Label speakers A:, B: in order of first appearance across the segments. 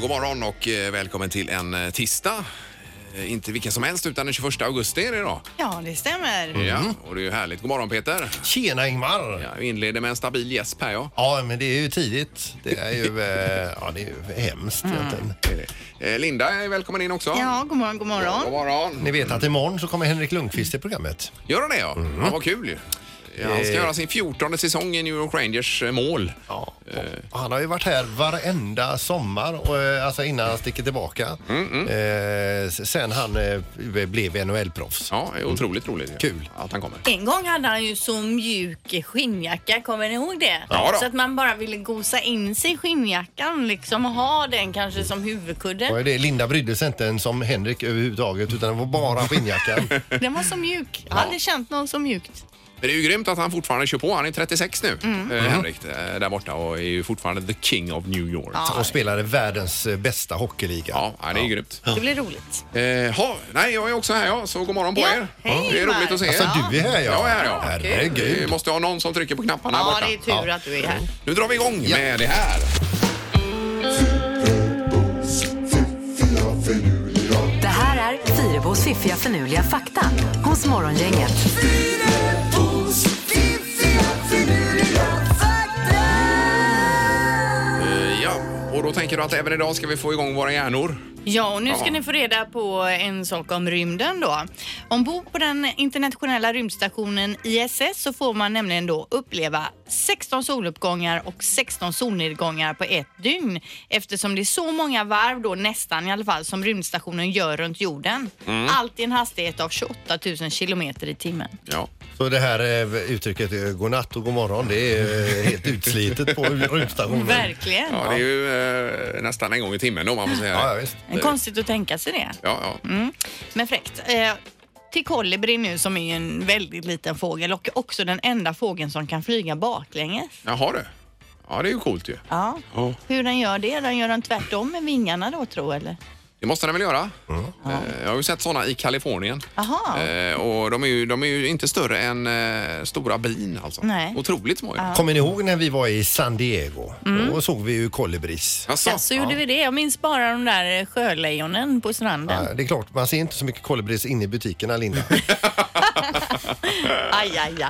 A: God morgon och eh, välkommen till en eh, tisdag. Eh, Inte vilken som helst utan den 21 augusti är det idag.
B: Ja, det stämmer.
A: Ja, och det är ju härligt. God morgon Peter.
C: Tjena Ingmar! Mm. Ja.
A: Ja, vi inleder med en stabil gäsp här ja.
C: men det är ju tidigt. Det är ju, eh, ja, det är ju hemskt
A: Mm.
C: egentligen.
A: Eh, Linda är välkommen in också.
B: Ja, god morgon, god
A: God
B: morgon.
A: morgon.
C: Ni vet att imorgon så kommer Henrik Lundqvist i programmet.
A: Gör hon det ja?
C: Mm.
A: ja vad kul ju. Ja,
C: Eh.
A: han ska göra sin 14 säsong i New York Rangers eh, mål.
C: Ja, och han har ju varit här varenda sommar, och, eh, alltså innan han sticker tillbaka.
A: Mm,
C: Eh, s- sen han eh, blev NHL-proffs.
A: Ja, det är otroligt roligt. ju.
C: Mm. Kul.
A: Att han kommer.
B: En gång hade han ju så mjuk skinnjacka, kommer ni ihåg det?
A: Ja då.
B: så att man bara ville gosa in sig i skinnjackan liksom och ha den kanske som huvudkudde.
C: Och det, Linda brydde sig inte ens om Henrik överhuvudtaget utan det var bara skinnjackan.
B: Den var så mjuk. Jag har aldrig känt någon så mjukt.
A: Men det är ju grymt att han fortfarande kör på. Han är 36 nu, eh,
C: Mm.
A: Henrik, eh, där borta och är ju fortfarande the king of New York. Ja,
C: och spelade världens eh, bästa hockeyliga.
A: ja det är grymt.
B: Det blir roligt.
A: Eh, ha, nej, jag är också här ja, så god morgon på
B: Ja,
A: er.
B: hej,
A: det är roligt
B: Ingmar.
A: att se er.
C: Alltså du är här ja.
A: Jag är här ja. Vi
C: Herregud.
A: måste ha någon som trycker på knapparna här
B: Ja,
A: borta.
B: det är tur att du är här.
A: Nu drar vi igång med det här.
D: Det här är Fyrabos fiffiga förnuliga fakta hos Morgongänget.
A: Eh, ja, och då tänker du att även idag ska vi få igång våra hjärnor.
B: Ja, och nu ska
A: Ja.
B: ni få reda på en sak om rymden då. Ombord på den internationella rymdstationen ISS så får man nämligen då uppleva 16 soluppgångar och 16 solnedgångar på ett dygn eftersom det är så många varv då nästan i alla fall som rymdstationen gör runt jorden.
A: Mm.
B: Allt i en hastighet av 28 000 kilometer i timmen.
A: Ja.
C: Så det här eh, uttrycket eh, godnatt och god morgon det är eh, helt utslitet på rymdstationen.
B: Verkligen.
A: Mm. Ja, det är ju eh, nästan en gång i timmen om man får säga
C: Ja, ja,
A: det.
C: visst.
B: Konstigt att tänka sig det.
A: Ja, ja.
B: Mm. Men fräckt. Eh, till kolibri nu som är ju en väldigt liten fågel och också den enda fågeln som kan flyga baklänges.
A: Jaha du. Ja, det är ju coolt ju.
B: Ja.
A: Ja.
B: Hur den gör det? Den gör den tvärtom med vingarna då tror eller?
A: Det måste den väl göra? Eh, Jag har ju sett sådana i Kalifornien.
B: Jaha.
A: Eh, och de är, ju, de är ju inte större än eh, stora bin alltså.
B: Nej.
A: Otroligt små ju.
C: Kommer ni ihåg när vi var i San Diego? Då såg vi ju kolibris.
A: Jaså?
B: Ja, så gjorde vi det. Jag minns bara de där sjölejonen på stranden.
C: Ja, Det är klart, man ser inte så mycket kolibris inne i butikerna, Linda.
A: Äh.
B: Aj, aj, aj.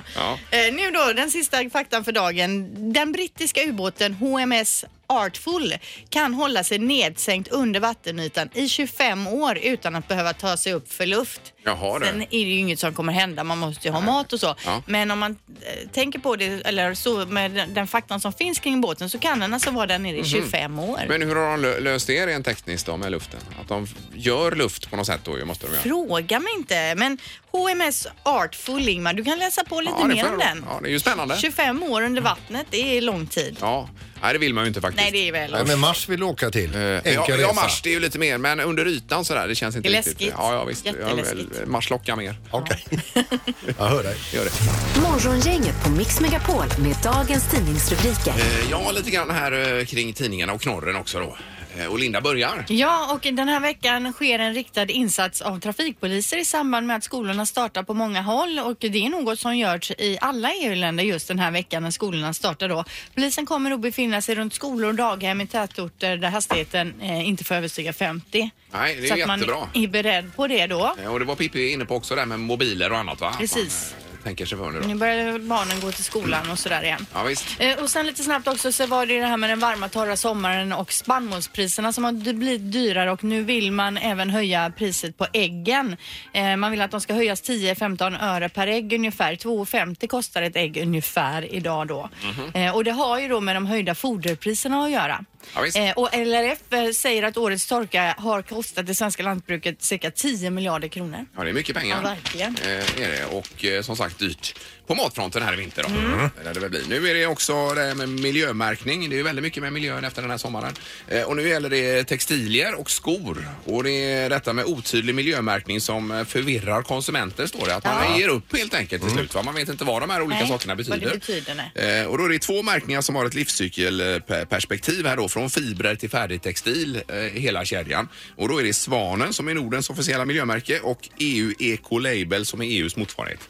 B: Eh, nu då, den sista faktan för dagen. Den brittiska ubåten HMS Artful kan hålla sig nedsänkt under vattenytan i 25 år utan att behöva ta sig upp för luft.
A: Jaha, du.
B: Sen är det ju inget som kommer hända, man måste ju ha mat och så.
A: Ja.
B: Men om man eh, tänker på det, eller så med den, den faktan som finns kring båten så kan den alltså vara där nere i 25 år.
A: Mhm. Men hur har de lö- löst det rent tekniskt då med luften? Att de f- gör luft på något sätt då ju, måste de göra.
B: Fråga mig inte, men HMS Artful, Ingmar, du kan läsa på lite
A: Ja, det
B: mer
A: får
B: om
A: jag-
B: den.
A: Ja, det är ju spännande.
B: 25 år under vattnet, det är lång tid.
A: Ja, nej det vill man ju inte faktiskt.
B: Nej, det är väl
C: Nej, men Mars vill du åka till.
A: Eh,
C: Enkel
A: ja,
C: resa.
A: ja, Mars det är ju lite mer, men under ytan sådär, det känns inte
B: Det är
A: riktigt.
B: läskigt.
A: Ja, ja visst. Ja,
B: Jätteläskigt.
A: väl, Mars lockar mer.
C: Okej. Jag hör dig.
A: Gör det.
D: Morgongänget på Mix Megapol med dagens tidningsrubriker.
A: Eh, Ja, lite grann här eh, kring tidningarna och knorren också då. Eh, Och Linda börjar.
B: Ja, och den här veckan sker en riktad insats av trafikpoliser i samband med att skolorna startar på många håll och det är något som görs i alla EU-länder just den här veckan när skolorna startar då. Polisen kommer att befinna sig runt skolor och daghem i tätorter där hastigheten eh, inte får överstiga 50.
A: Nej, det är
B: Så
A: ju
B: att man
A: jättebra.
B: är beredd på det då.
A: Eh, Och det var Pippi inne på också där med mobiler och annat va? Att
B: Precis.
A: Man, eh, tänker sig för nu
B: Nu
A: då.
B: börjar barnen gå till skolan och sådär igen.
A: Ja, visst.
B: Eh, Och sen lite snabbt också så var det ju det här med den varma torra sommaren och spannmålspriserna som har d- blivit dyrare och nu vill man även höja priset på äggen. Eh, Man vill att de ska höjas 10-15 öre per ägg ungefär. 2,50 kostar ett ägg ungefär idag då.
A: Mhm.
B: Eh, Och det har ju då med de höjda foderpriserna att göra.
A: Ja, visst.
B: Eh, Och LRF eh, säger att årets torka har kostat det svenska lantbruket cirka 10 miljarder kronor.
A: Ja, det är mycket pengar.
B: Ja, verkligen.
A: Eh, är det. Och eh, som sagt dyrt på matfronten här i vinter. Då.
B: Mm.
A: Eller det väl blir. Nu är det också det här med miljömärkning. Det är ju väldigt mycket med miljön efter den här sommaren. Eh, och nu gäller det textilier och skor. Och det är detta med otydlig miljömärkning som eh, förvirrar konsumenter står det. Att man ger upp helt enkelt till
B: Mm.
A: slut. Va? Man vet inte vad de här olika
B: Nej,
A: sakerna
B: vad det
A: betyder.
B: betyder, nej.
A: Eh, Och då är det två märkningar som har ett livscykelperspektiv här då, från fibrer till färdigtextil, eh, hela kedjan. Och då är det E Svanen som är Nordens officiella miljömärke och EU Eco Label som är EUs E motsvarighet.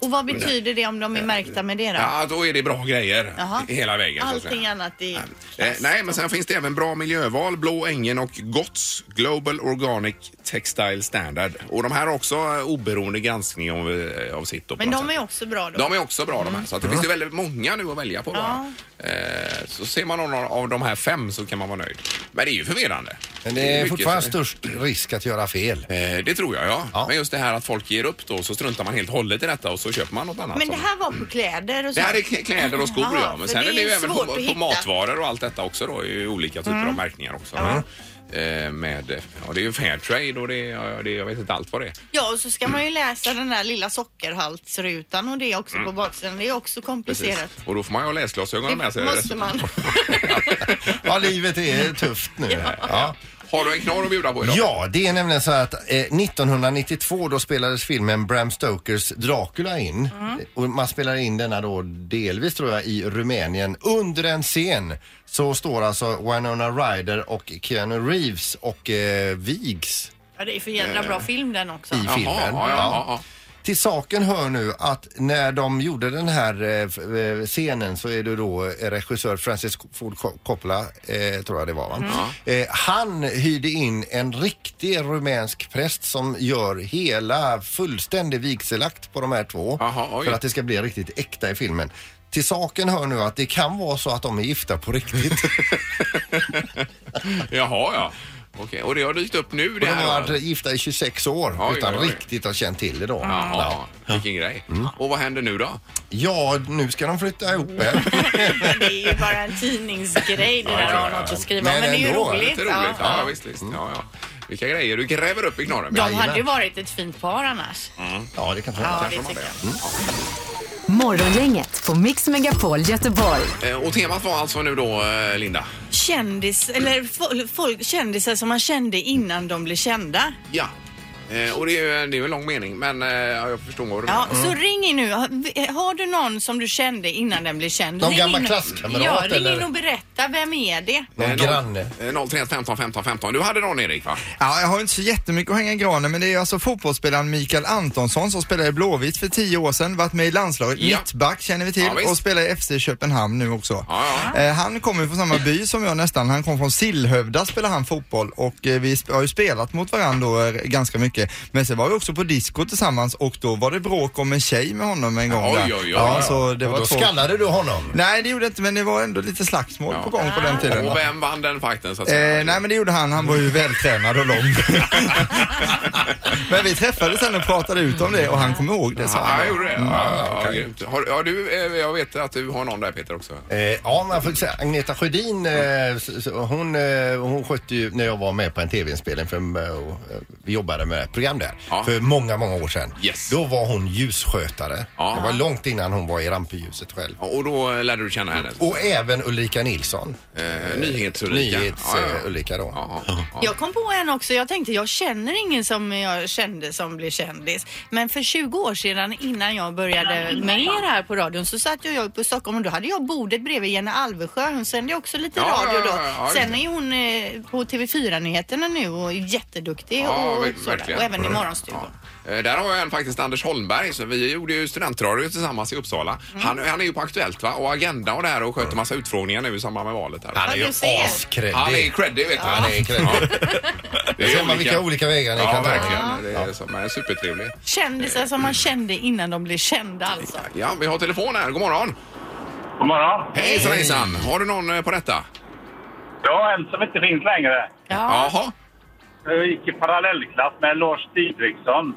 B: Och vad betyder det om de är märkta med det då?
A: Ja, då är det bra grejer
B: Jaha.
A: hela vägen. så att säga.
B: Allting annat är
A: Eh,
B: klass.
A: nej, men sen finns det även Bra Miljöval, Blå Ängen och GOTS, Global Organic Textile Standard. Och de här har också eh, oberoende granskning av, eh, av sitt. då på
B: Men
A: något
B: de är
A: sätt.
B: också bra då?
A: de är också bra
C: Mm.
A: de här, så att det finns ju väldigt många nu att välja på. va? Eh, så ser man någon av de här fem så kan man vara nöjd. Men det är ju förvirrande.
C: Men det är
A: mycket
C: fortfarande
A: som-
C: störst risk att göra fel.
A: Eh, Det tror jag, ja.
C: Ja.
A: Men just det här att folk ger upp då så struntar man helt och hållet i detta och så köper man något annat.
B: Men det
A: som-
B: här var på kläder och
A: Alltså, det
B: sånt?
A: här är k- kläder och skor
B: Jaha,
A: ja, men
B: för
A: sen är det ju även på,
B: svårt att
A: på
B: hitta. Mm.
A: matvaror och allt detta också då, är ju olika typer av märkningar också.
C: Mm.
A: Eh, Med, ja, det är ju Fairtrade och det är, ja, det är, jag vet inte allt vad det är.
B: Ja, och så ska man ju läsa den där lilla sockerhaltsrutan och det också på baksidan. Det är också
A: Mm. Precis. alltså,
B: komplicerat.
A: Och då får man ju ha läsglasögonen med sig.
B: Det måste man.
C: Ja, livet är tufft nu. Ja.
A: Har du en knorr att bjuda på idag?
C: Ja, det är nämligen så att eh, 1992 då spelades filmen Bram Stokers Dracula in. Och man spelar in denna då delvis tror jag i Rumänien. Under en scen så står alltså Winona Ryder och Keanu Reeves och eh, vigs
B: Ja, det är för jädra
A: Eh,
B: bra film den också.
C: i filmen.
A: ja, ja, ja, ja.
C: Till saken hör nu att när de gjorde den här eh, f- eh, scenen så är det då eh, regissör Francis Ford Co- Coppola, eh, tror jag det var va?
A: Mm.
C: Eh, han hyrde in en riktig rumänsk präst som gör hela fullständig vigselakt på de här två
A: Jaha, oj.
C: för att det ska bli riktigt äkta i filmen. Till saken hör nu att det kan vara så att de är gifta på riktigt.
A: Jaha, ja. Okej, och det har dykt upp nu det
C: De
A: här?
C: har
A: va?
C: varit gifta i 26 år
A: Oj,
C: utan
A: oj, oj.
C: riktigt att känt till det då.
A: Jaha, vilken grej.
E: Mm.
A: Och vad händer nu då?
C: Ja, nu ska de flytta ihop här.
B: Men det är ju bara en tidningsgrej det där att ha något att skriva
C: Men
B: om. Men det är ju
C: ändå,
B: roligt.
A: Lite roligt. Ja, ja. visst, visst. Ja, ja. Vilka grejer du gräver upp i knorren.
B: De hade ju varit ett fint par annars.
C: Ja, det kan man
B: Ja,
C: säga.
B: det tycker jag.
D: Morgongänget på Mix Megapol Göteborg.
A: Eh, Och temat var alltså nu då, eh, Linda?
B: Kändis, eller fol- folk, kändisar som man kände innan de blev kända.
A: Ja. Eh, och det är, ju, det är ju en lång mening, men eh, ja, jag förstår vad du
B: Ja,
A: menar.
B: så ring in nu. Har- Har du någon som du kände innan den blev känd?
C: Någon
B: Ring
C: gammal
B: in och-
C: klasskamrat,
B: Ja, ring in
C: eller?
B: och berätta. Vem är det?
C: Någon
A: Eh, noll-
C: granne.
A: eh, 031 15 15 15. Du hade någon Erik va?
E: Ja, jag har inte så jättemycket att hänga i granen men det är alltså fotbollsspelaren Mikael Antonsson som spelade i Blåvitt för tio år sedan, varit med i landslaget,
A: Ja.
E: mittback känner vi till
A: Ja, visst.
E: och spelar i FC Köpenhamn nu också.
A: Ja,
E: Eh, Han kommer från samma by som jag nästan, han kom från Sillhövda spelar han fotboll och eh, vi sp- har ju spelat mot varandra då, eh, ganska mycket. Men sen var vi också på disco tillsammans och då var det bråk om en tjej med honom en gång.
A: Oj,
E: där.
A: oj, oj,
E: ja,
A: oj.
E: så det
C: Och
E: var
C: då
E: två...
C: skallade du honom.
E: Nej det gjorde jag inte men det var ändå lite slagsmål på gång på den tiden.
A: Och vem vann den fighten så att säga?
E: Eh, nej men det gjorde han, han var ju vältränad och lång. men vi träffades sen och pratade ut om det och han kom ihåg det sa
A: Ja, jag
E: han.
A: gjorde det. Ja,
E: Mm.
A: ja, grymt. Har, ja, du, eh, jag vet att du har någon där Peter också.
C: Eh, ja, man får säga Agneta Sjödin, eh, s- s- hon, eh, hon skötte ju när jag var med på en tv-inspelning för eh, och, eh, vi jobbade med ett program där
A: Ja.
C: för många, många år sedan.
A: Yes.
C: Då var hon ljusskötare.
A: Ja.
C: Det var långt innan hon var i rampljuset själv.
A: Ja, Och då eh, lärde du känna henne?
C: Och även Ulrika Nilsson.
A: Eh, Nyhets-Ulrika.
C: Nyhets-Ulrika då.
A: Ja, ja. Ja, ja.
B: Jag kom på en också. Jag tänkte jag känner ingen som jag kände som blev kändis. Men för 20 år sedan innan jag började med er här på radion så satt jag på Stockholm och då hade jag bordet bredvid Jenny Alvesjö. Hon sände också lite
A: Ja,
B: radio då.
A: ja, ja, ja,
B: Sen
A: just
B: är hon eh, på TV4-nyheterna nu och är jätteduktig
A: Ja,
B: och,
A: ver-
B: sådär.
A: verkligen. Mm.
B: och även i Morgonstudion.
A: Ja. Eh, Där har jag en faktiskt, Anders Holmberg. Så vi gjorde ju studentradio tillsammans i Uppsala.
B: Mm.
A: Han, han är ju på Aktuellt va? och Agenda och det här och sköter massa utfrågningar nu i samband med valet. Här.
C: Mm. Han är
B: Ja,
C: ju
B: du ser.
C: askreddig.
A: Han är creddig vet du.
C: Han är creddig.
A: Det
C: Ser man vilka olika vägar ni
A: Ja,
C: kan ta.
A: verkligen. Det är som är supertrevlig.
B: Kändisar som man kände innan de blev kända alltså.
A: Ja, vi har telefon här. God morgon!
F: God morgon.
A: Hejsan hejsan! Har du någon eh, på detta?
F: Ja, en som inte finns längre.
B: Ja.
A: Jaha.
F: Jag gick i parallellklass med Lars Didriksson.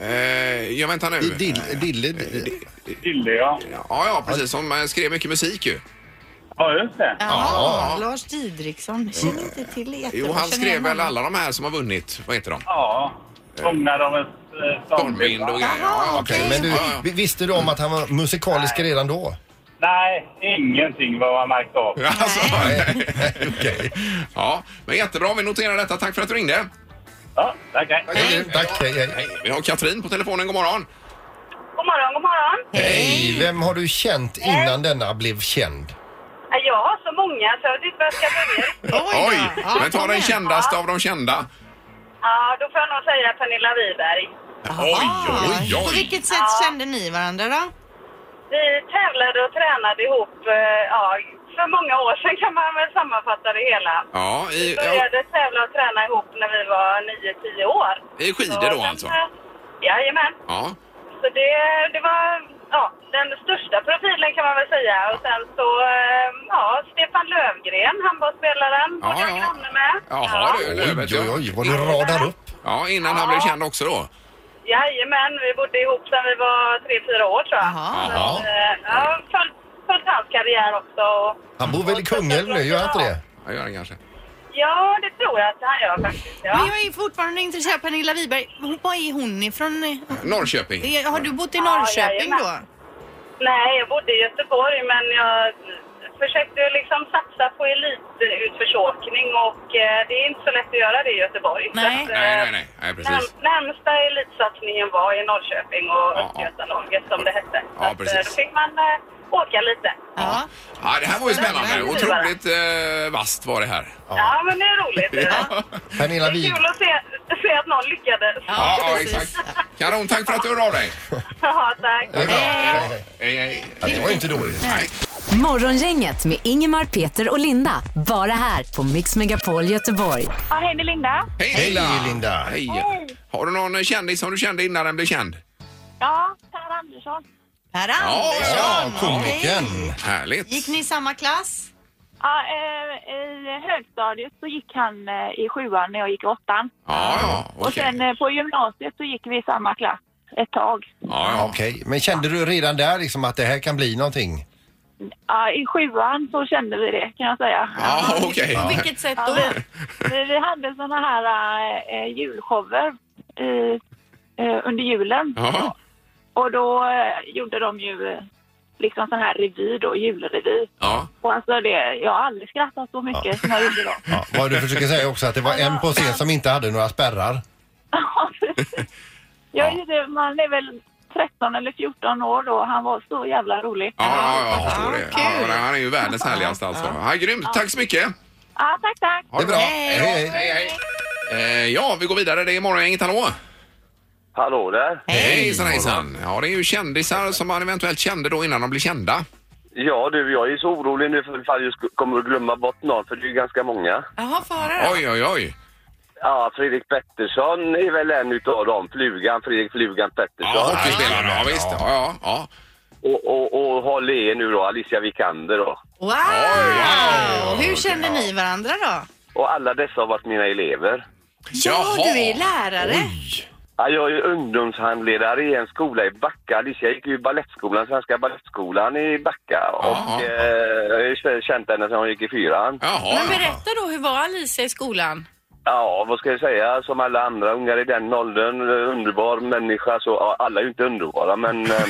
A: Eh, ja, vänta nu.
C: I Dill- Dille... Dille-
F: Dille, ja.
A: Ja, ja, precis. Som eh, skrev mycket musik ju.
F: Ja, just det.
B: Ja, Lars Didriksson. Känner inte till jättebra.
A: Mm. Jo, han
B: Känner
A: skrev
B: igen
A: väl
B: honom.
A: alla de här som har vunnit. Vad heter de?
F: Ja. Fångad av en eh,
A: Stormvind
F: stormvind.
A: och
F: va?
A: grejer. Ja,
C: Okej, men du,
A: Ja, ja.
C: vi- visste du om att han var musikalisk redan då?
F: Nej, ingenting var man märkt av.
A: Ja, Alltså,
C: Okej.
A: ja, men jättebra. Vi noterar detta. Tack för att du ringde.
F: Ja, tackar.
A: Hej.
C: Tack, hej, hej.
A: Hej. Vi har Katrin på telefonen. God morgon.
G: God morgon, god morgon.
C: Hej! Vem har du känt innan denna blev känd?
G: Jag har så många så jag vet inte var jag ska börja.
B: Oj, då. Ja,
A: Men ta
B: kom
A: den
B: igen.
A: kändaste av de kända.
G: Ja, då får jag nog säga Pernilla Wiberg.
A: Oj, oj,
B: Ah, På
A: oj!
B: vilket sätt kände ni varandra då?
G: Vi tävlade och tränade ihop eh, ja, för många år sedan kan man väl sammanfatta det hela.
A: Ja, i, ja,
G: Började tävla och träna ihop när vi var 9-10 år.
A: I skidor
G: Så
A: då
G: den,
A: alltså?
G: eh, Jajamän.
A: ja.
G: Så det, det var ja, den största profilen kan man väl säga. Och sen så, eh, ja, Stefan Lövgren, handbollsspelaren,
A: Ja,
G: var jag
A: ja.
G: granne med.
A: Jaha du,
C: Oj,
A: Löfvet,
C: oj,
A: ja.
C: oj, vad du radar upp.
A: Ja, innan han blev känd också då.
G: Jajamän, vi bodde ihop sedan vi var tre, fyra år tror jag.
B: Jaha.
G: Så,
C: Jaha.
G: eh, ja, följt, följt hans karriär också. Och,
C: Han bor väl i Kungälv nu, gör han inte det?
A: Ja, gör han kanske.
G: ja, det tror jag att han gör faktiskt. Ja.
B: Men jag är fortfarande intresserad av Pernilla Wiberg. Hon- Var är hon ifrån?
A: Norrköping.
B: Eh, Har du bott i
G: Ja,
B: Norrköping då?
G: jajamän. Nej, jag bodde i Göteborg men jag försökte ju liksom satsa på elitutförsåkning och eh, det är inte så lätt att göra det i Göteborg.
B: Nej.
G: Så att, eh,
A: Nej, nej, nej, nej, precis.
G: Närm- närmsta elitsatsningen var i Norrköping och
A: Ja, ja.
G: Östgötalaget som det hette.
A: Ja,
G: Så att, eh,
A: precis.
G: Då fick man eh, åka lite.
B: Ja.
A: Ja, det här var ju spännande.
G: Spännande.
A: Otroligt eh, vasst var det här.
G: Ja. men det är roligt.
A: Ja,
C: Pernilla
G: Det är
C: Wig.
G: kul att se, se att någon lyckades.
A: ja,
B: Ja,
A: exakt.
B: precis.
A: Kanon, tack för att du hörde av dig.
G: Ja, tack.
C: Det är bra.
B: Hej.
C: Hej,
A: Hej, hej.
C: hej. Ja, Det var ju inte dåligt.
A: Nej.
D: Morgongänget med Ingemar, Peter och Linda. Bara här på Mix Megapol Göteborg.
G: Ja, hej, det är Linda.
A: Hej
C: Hej,
A: Linda!
C: Linda.
A: Hej. Har du någon eh, kändis som du kände innan den blev känd?
G: Ja, Per Andersson.
B: Per
A: Ja,
B: Andersson.
C: Ja,
B: Okej.
C: komikern.
A: Härligt.
B: Gick ni i samma klass?
G: Ja, eh, I högstadiet så gick han eh, i sjuan när jag gick i åttan. eh,
A: Ja, ja, okej.
G: på gymnasiet så gick vi i samma klass ett tag.
A: Ja, ja.
C: Okej, men kände du redan där liksom att det här kan bli någonting?
G: Ja, I sjuan så kände vi det kan jag säga.
A: Ja, okej.
B: På vilket sätt
G: Ja,
B: då?
G: vi, vi, vi hade såna här eh, julshower i, eh, under julen.
A: Ja,
G: Och då eh, gjorde de ju eh, liksom sån här revy då, julrevy.
A: ja.
G: Och alltså det, jag har aldrig skrattat så mycket som jag gjorde då.
C: Ja, vad du försöker säga också att det var en på scen som inte hade några spärrar.
G: Ja, precis. jag gjorde, man är väl 13 eller 14 år då, han var så jävla rolig.
A: Ja, ja, ja, jag förstår det.
B: Ja, kul.
A: Ja, men han är ju världens härligaste alltså. Ja, grymt, tack så mycket.
G: Ja, tack, tack.
A: Ha
C: Det är bra.
B: Hej.
C: Hej, hej.
A: Hej, hej. Eh, ja, vi går vidare. Det är Morgongänget, hallå!
F: Hallå där.
A: Hejsan, hejsan! Ja, det är ju kändisar som man eventuellt kände då innan de blev kända.
F: Ja du, jag är så orolig nu för ifall jag sk- kommer att glömma bort någon, för det är ju ganska många.
B: Jaha, får höra då.
A: Oj, oj, oj!
F: Ja, Fredrik Pettersson är väl en utav dem. Flugan, Fredrik Flugan
A: Ja,
F: Pettersson.
A: hockeyspelare, ja visst. Ja, ja, ja.
F: och, och, och håll i er nu då, Alicia Vikander då.
B: Wow!
A: Oj,
B: Hur kände ni varandra då?
F: Och alla dessa har varit mina elever.
B: Ja,
A: Jaha.
B: du är lärare.
F: Ja, jag är ungdomshandledare i en skola i Backa. Alicia gick ju i Balettskolan, Svenska Balettskolan i Backa.
A: Jaha.
F: Och eh, jag har ju känt henne sedan hon gick i fyran.
A: Jaha,
B: Men berätta då, hur var Alice i skolan?
F: Ja, vad ska jag säga? Som alla andra ungar i den åldern, eh, underbar människa. Så, ja, alla är ju inte underbara, men eh,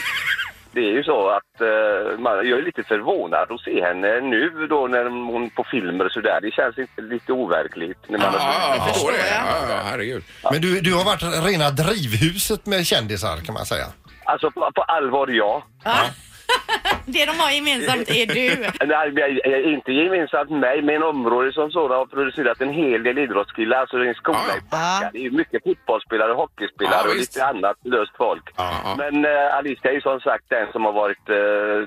F: det är ju så att eh, man, jag är lite förvånad att se henne nu då när hon på filmer och sådär. Det känns inte, lite overkligt. När man
A: ja, ja, jag
B: Det
A: förstår
B: förstår
A: det.
B: jag.
A: Ja, ja, herregud.
C: Men du, du har varit rena drivhuset med kändisar kan man säga.
F: Alltså på, på allvar, ja.
B: Va? Det de har gemensamt är du.
F: Nej, jag- jag är inte gemensamt med mig, men området som sådant har producerat en hel del idrottskillar. Alltså det är en skola
A: Ja.
F: i Backa. Det är ju mycket fotbollsspelare, hockeyspelare
A: Ja,
F: och
A: visst.
F: lite annat löst folk.
A: Ja, ja.
F: Men eh, Alicia är ju som sagt den som har varit eh,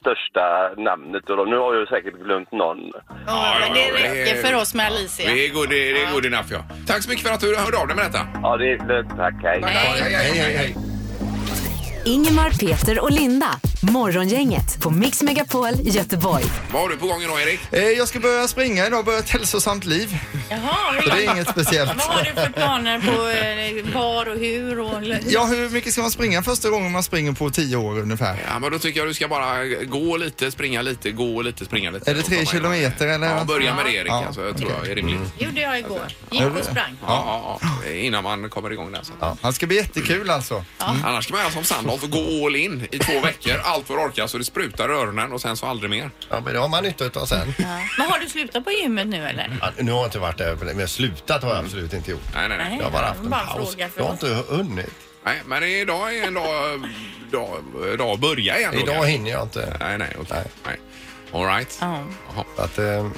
F: största namnet. Och då, nu har jag säkert glömt någon.
B: Ja, men det
A: ja, ja.
B: räcker för oss med Alice.
A: Det är good, det är good enough, ja. Tack så mycket för att du hörde av dig med detta.
F: Ja, det är... Tack, hej.
A: Hej, hej, hej.
C: hej.
D: Ingemar, Peter och Linda. Morgongänget på Mix Megapol Göteborg.
A: Vad har du på gång idag, Erik?
E: Eh, Jag ska börja springa idag, börja ett hälsosamt liv.
B: Jaha,
E: Så det
B: hur,
E: är inget speciellt.
B: vad har du för planer på eh, var och hur? Och,
E: Ja, hur mycket ska man springa första gången man springer på tio år ungefär?
A: Ja, men då tycker jag du ska bara gå lite, springa lite, gå lite, springa lite.
E: Är det tre
A: Och komma igång.
E: kilometer eller?
A: Ja, börja med det Erik,
E: Ja, Mm.
A: alltså, jag tror jag är rimligt.
B: Det gjorde jag igår. Gick och sprang.
A: Ja, ja, ja. Innan man kommer igång där. Så.
E: Ja, det ska bli jättekul alltså.
A: Annars ska man göra som Sandholt och gå all in i två veckor, allt vad du orkar så det sprutar i öronen och sen så aldrig mer.
C: Ja, men det har man nytta utav sen.
B: Ja. Men har du slutat på gymmet nu eller?
C: Ja, nu har jag inte varit där, men jag slutat har jag absolut inte gjort.
A: Nej, nej, nej.
C: Jag har bara haft en
B: Bara en
C: paus.
B: fråga för
C: Jag har
B: oss.
C: inte hunnit.
A: nej men idag är en dag, dag, dag att börja igen. då,
C: Idag
A: kanske.
C: hinner jag inte.
A: Nej, nej, okej. Nej. All right.
B: Ja.
A: Jaha.
C: Så Att, eh,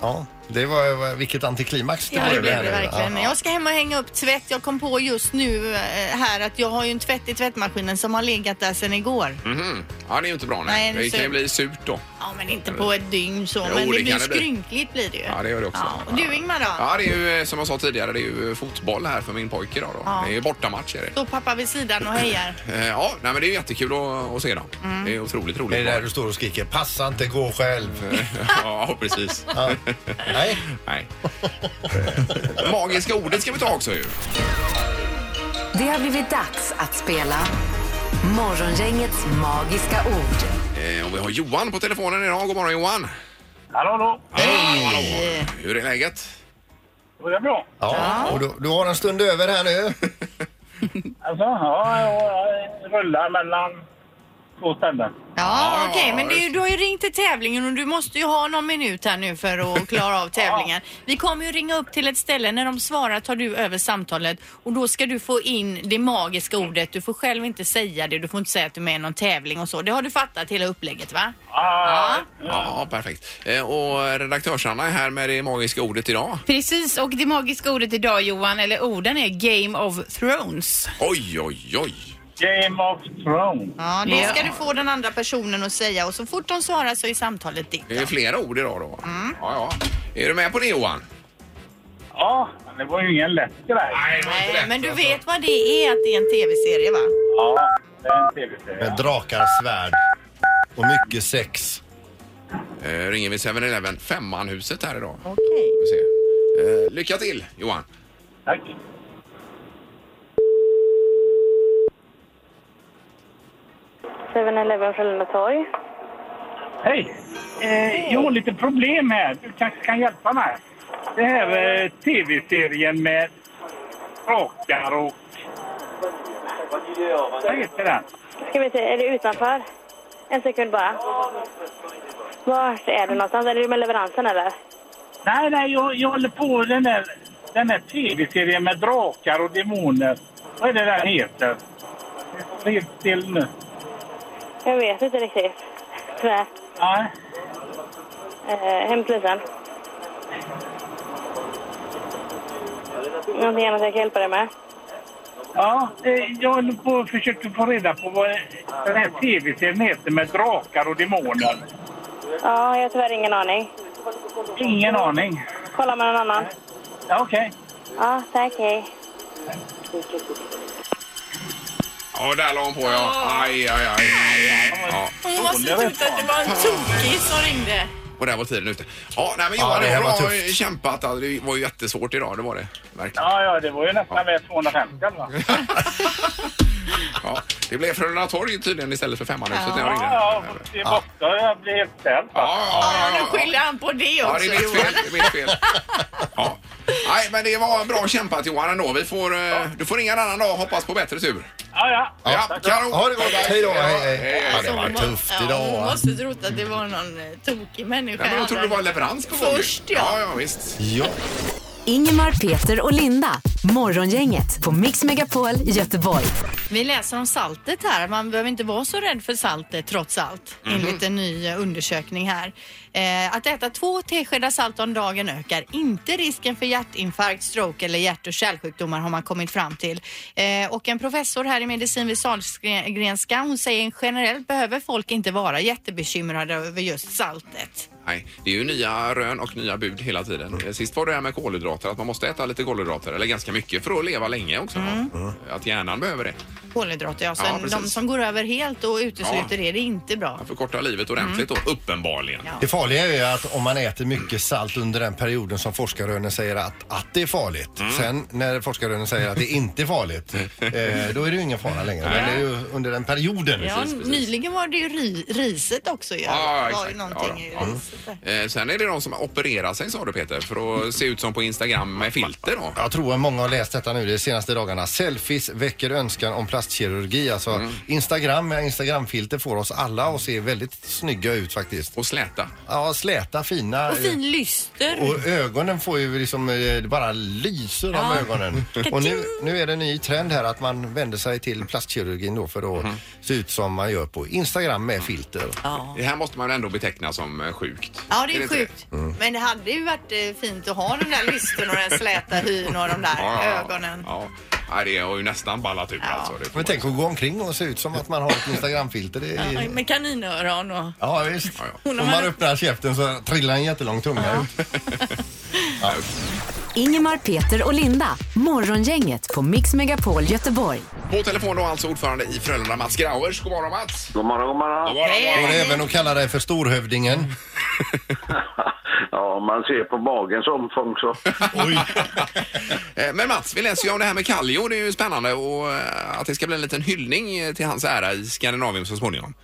C: ja, Det var, var- vilket antiklimax det
B: Ja,
C: blev.
B: det blev det
C: här.
B: verkligen.
C: Ja.
B: Jag ska hem och hänga upp tvätt. Jag kom på just nu eh, här att jag har ju en tvätt i tvättmaskinen som har legat där sedan igår.
A: Mhm. Ja, det är ju inte bra.
B: Nej,
A: Nej,
B: det
A: det kan ju
B: ser-
A: bli surt då.
B: Ja, men inte på ett dygn så.
A: Jo,
B: men
A: det
B: det, blir
A: kan det bli.
B: skrynkligt blir det ju.
A: Ja, det gör det också.
B: Ja, och du Ingmar då?
A: Ja, det är ju eh, som jag sa tidigare, det är ju fotboll här för min pojke idag. Då.
B: Ja.
A: Det är ju bortamatch. Är det.
B: Står pappa vid sidan och hejar.
A: Eh, Ja, nej, men det är ju jättekul att, att se dem.
B: Mm.
A: Det är otroligt roligt.
C: Det är där du står och skriker passa inte, gå själv.
B: Mm.
A: ja, precis.
C: Ja. Nej,
A: Nej. Eh, Magiska ordet ska vi ta också ju.
D: Det har blivit dags att spela Morgongängets magiska ord.
A: Eh, Och vi har Johan på telefonen idag. God morgon Johan!
F: Hallå, hallå.
A: Hej! Hur är läget?
F: Det är bra.
C: ja, och du, du har en stund över här nu.
F: Alltså, ja, jag rullar mellan två ställen.
B: Ja, okej, men det, är ju- du har ju ringt till tävlingen och du måste ju ha någon minut här nu för att klara av tävlingen. Vi kommer ju ringa upp till ett ställe. När de svarar tar du över samtalet och då ska du få in det magiska ordet. Du får själv inte säga det. Du får inte säga att du är med i någon tävling och så. Det har du fattat hela upplägget, va?
F: Ah,
B: Ja.
A: Ja, perfekt. Eh, Och redaktörs-Anna är här med det magiska ordet idag.
H: Precis, och det magiska ordet idag Johan, eller orden är Game of Thrones.
A: Oj, oj, oj!
F: Game of Thrones.
B: Ja, då
H: Ja.
B: ska du få den andra personen att säga och så fort de svarar så är samtalet ditt.
A: Det är flera ord idag då. Ja, ja. Är du med på det Johan?
F: Ja, det var ju ingen lätt grej.
A: Nej, det var inte
B: Nej,
A: lätt,
B: men du
A: alltså.
B: vet vad det är att det är en tv-serie, va?
F: Ja, det är en tv-serie.
C: Med drakar, svärd och mycket sex.
A: Eh, ringer vi 7-Eleven, Femmanhuset här idag.
B: Okej.
A: Vi får se. Eh, lycka till Johan!
F: Tack. Hej! Eh, jag har lite problem här. Du kanske kan hjälpa mig? Det här eh, tv-serien med rakar och... Vad heter den?
I: Ska vi se, är det utanför? En sekund bara. Vart är du någonstans? Är du med leveransen eller?
F: Nej, nej, jag, jag håller på den där, den där tv-serien med drakar och demoner. Vad är det den heter? Helt still nu.
I: Jag vet inte riktigt. Tyvärr.
F: Nej.
I: Eh, hempolisen. Någonting annat jag kan hjälpa dig med?
F: Ja, eh, jag håller på och försöker få reda på vad den här tv-serien heter med drakar och demoner.
I: Ja, jag har tyvärr ingen aning.
F: Ingen aning.
I: Kolla med någon annan.
F: Ja, Okej.
I: Ja, tack. Hej.
A: Ja, där la hon på ja. Aj, aj, aj. Ja,
B: Hon var så ut att det var en tokig som ringde.
A: och där var tiden ute. Ja, nej, men
C: Ja,
A: Johan,
C: det
A: det
C: här
A: var
C: var
A: bra
C: tufft.
A: kämpat. Alltså, Det var ju jättesvårt idag, det var det. Verkligen.
F: Ja, ja, det var ju nästan värt 250 va?
A: Ja, det blev Frölunda torg tydligen istället för Femmanhuset när jag
F: Ja,
A: ringde.
F: ja, det är borta. Jag blir helt ställd. va?
A: Ja, ja,
B: Ja,
A: ja,
B: nu skyller han på det
A: Ja,
B: också,
A: det är mitt
B: Johan.
A: fel. Det är mitt fel. Ja. Nej, men det var bra kämpat Johan ändå. Vi får, eh, Du får ringa en annan dag och hoppas på bättre tur.
F: Ja, ja.
A: Ja, kanon.
C: Ha det gott. Hej då. Hej, hej.
A: hej.
C: Ja, det var
B: Hon må-
C: tufft
B: ja,
C: idag.
B: Hon
C: va?
B: måste trott att det var någon eh, tokig människa.
A: Nej, men jag trodde det var en leverans på gång.
B: Först, ja.
A: Ja, ja, visst.
C: Ja.
D: Ingemar, Peter och Linda. Morgongänget på Mix Megapol i Göteborg.
B: Vi läser om saltet här. Man behöver inte vara så rädd för saltet trots allt.
A: Mhm.
B: Enligt en ny eh, undersökning här. Eh, att äta två teskedar salt om dagen ökar inte risken för hjärtinfarkt, stroke eller hjärt och kärlsjukdomar har man kommit fram till. Eh, och en professor här i medicin vid Sahlgrenska hon säger generellt behöver folk inte vara jättebekymrade över just saltet.
A: Nej, det är ju nya rön och nya bud hela tiden. Eh, Sist var det här med kolhydrater, att man måste äta lite kolhydrater, eller ganska mycket, för att leva länge också. Att hjärnan behöver det.
B: Kolhydrater, ja.
A: Ja,
B: Sen
A: precis.
B: de som går över helt och utesluter
A: Ja.
B: det, det är inte bra.
A: Man förkortar livet ordentligt då, uppenbarligen.
B: Ja.
C: Det farliga är ju att om man äter mycket salt under den perioden som forskarrönen säger att, att det är farligt.
B: Mm.
C: Sen när forskarrönen säger att det inte är farligt, eh, då är det ju ingen fara längre. Men det är ju under den perioden.
B: Ja, nyligen var det ju ri, riset också ju.
A: Ja,
B: det var ju
A: exakt.
B: någonting
A: Ja, då.
B: i riset där.
A: Eh, Sen är det de som opererar sig, sa du Peter, för att se ut som på Instagram med filter då.
C: Jag tror att många har läst detta nu de senaste dagarna. Selfies väcker önskan om plastkirurgi. Alltså
B: Mm.
C: Instagram med Instagramfilter får oss alla att se väldigt snygga ut faktiskt.
A: Och släta.
C: Ja, släta, fina.
B: Och fin lyster.
C: Och ögonen får ju liksom, eh, det bara lyser om ögonen. Och nu, nu är det en ny trend här att man vänder sig till plastkirurgin då
A: Mhm.
C: för att se ut som man gör på Instagram med filter.
A: Det här måste man ändå beteckna som eh, sjukt sjukt.
B: Ja, det är,
A: inte Mm.
B: sjukt. Men det hade ju varit eh, fint att ha de där listorna och den släta hyn och de där ögonen.
A: Ja. Nej, det har ju nästan ballat ut
B: Ja.
A: alltså. Det får
C: Men
A: man
C: tänk att gå omkring och se ut som att man har ett Instagramfilter. Det
B: Ja,
C: är...
B: Med kaninöron och...
C: Ja, visst.
A: Ja,
B: ja.
C: Om man öppnar käften så trillar en jättelång tunga ut.
D: Ingemar, Peter och Linda. Morgongänget på Mix Megapol Göteborg.
A: På telefon då alltså ordförande i Frölunda, Mats Grauers. God morgon Mats!
J: God morgon, god morgon.
C: Går det även att kalla dig för
A: Mm.
C: storhövdingen?
J: Ja, om man ser på magens omfång så.
C: Oj!
A: Eh, Men Mats, vi läser ju om det här med Kallio. Det är ju spännande och eh, att det ska bli en liten hyllning eh, till hans ära i Skandinavien så småningom.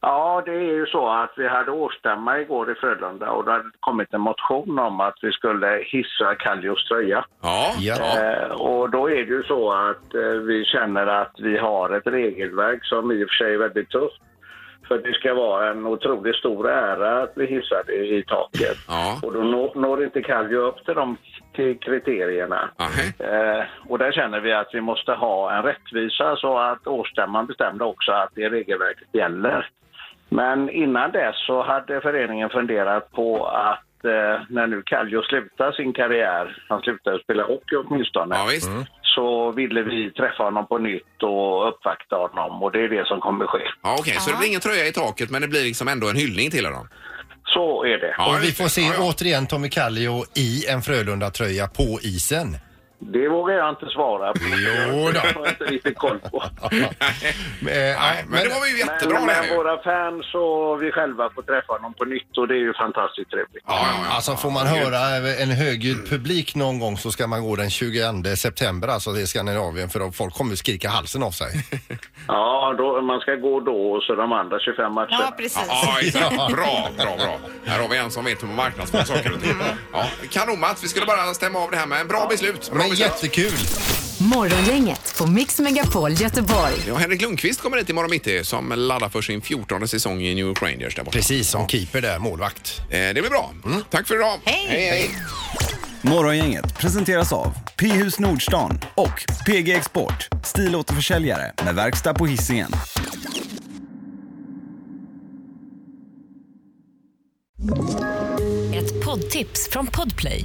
J: Ja, det är ju så att vi hade årsstämma igår i Frölunda och det hade kommit en motion om att vi skulle hissa Kallios tröja.
A: Ja.
C: Ja.
J: Eh, och då är det ju så att eh, vi känner att vi har ett regelverk som i och för sig är väldigt tufft. För det ska vara en otroligt stor ära att bli hissade i taket.
A: Ja.
J: Och då når, når inte Kallio upp till de till kriterierna.
A: Aha.
J: Eh, och där känner vi att vi måste ha en rättvisa så att årsstämman bestämde också att det regelverket gäller. Men innan dess så hade föreningen funderat på att eh, när nu Kallio slutar sin karriär, han slutade spela hockey åtminstone,
A: ja, visst.
C: Mm.
J: så ville vi träffa honom på nytt och uppvakta honom och det är det som kommer ske.
A: Ja, Okej, så det blir ingen tröja i taket men det blir liksom ändå en hyllning till honom.
J: Så är det.
A: Ja,
C: Och vi
A: just det.
C: får se
A: Ja, ja.
C: återigen Tommy Kallio i en Frölunda-tröja på isen.
J: Det vågar jag inte svara på.
C: Jo då.
J: Det har jag inte riktigt koll på.
C: Men, eh, nej,
A: Nej, men det var ju jättebra
J: Men,
A: det här
J: men
A: ju.
J: våra fans och vi själva får träffa honom på nytt och det är ju fantastiskt trevligt.
A: Ja, ja,
C: Alltså får man höra en högljudd publik någon gång så ska man gå den 22 september alltså till Skandinavien för då folk kommer att skrika halsen av sig.
J: Ja, då, man ska gå då och så de andra 25 matcherna.
B: Ja, precis.
A: Ja, exakt. Bra, bra, bra. Här har vi en som vet hur man marknadsför saker och ting. Ja, kanon Mats, vi skulle bara stämma av det här med bra beslut. Bra
C: Men
A: beslut.
C: jättekul!
D: Morgongänget på Mix Megapol Göteborg.
A: Ja, Henrik Lundqvist kommer hit imorgon mitt i, som laddar för sin 14 säsong i New York Rangers där borta.
C: Precis som keeper där, målvakt.
A: Eh, det blir bra. Tack för idag.
B: Hej.
K: Morgongänget presenteras av P-hus Nordstan och PG Export, stilåterförsäljare med verkstad på Hisingen.
L: Ett poddtips från Podplay.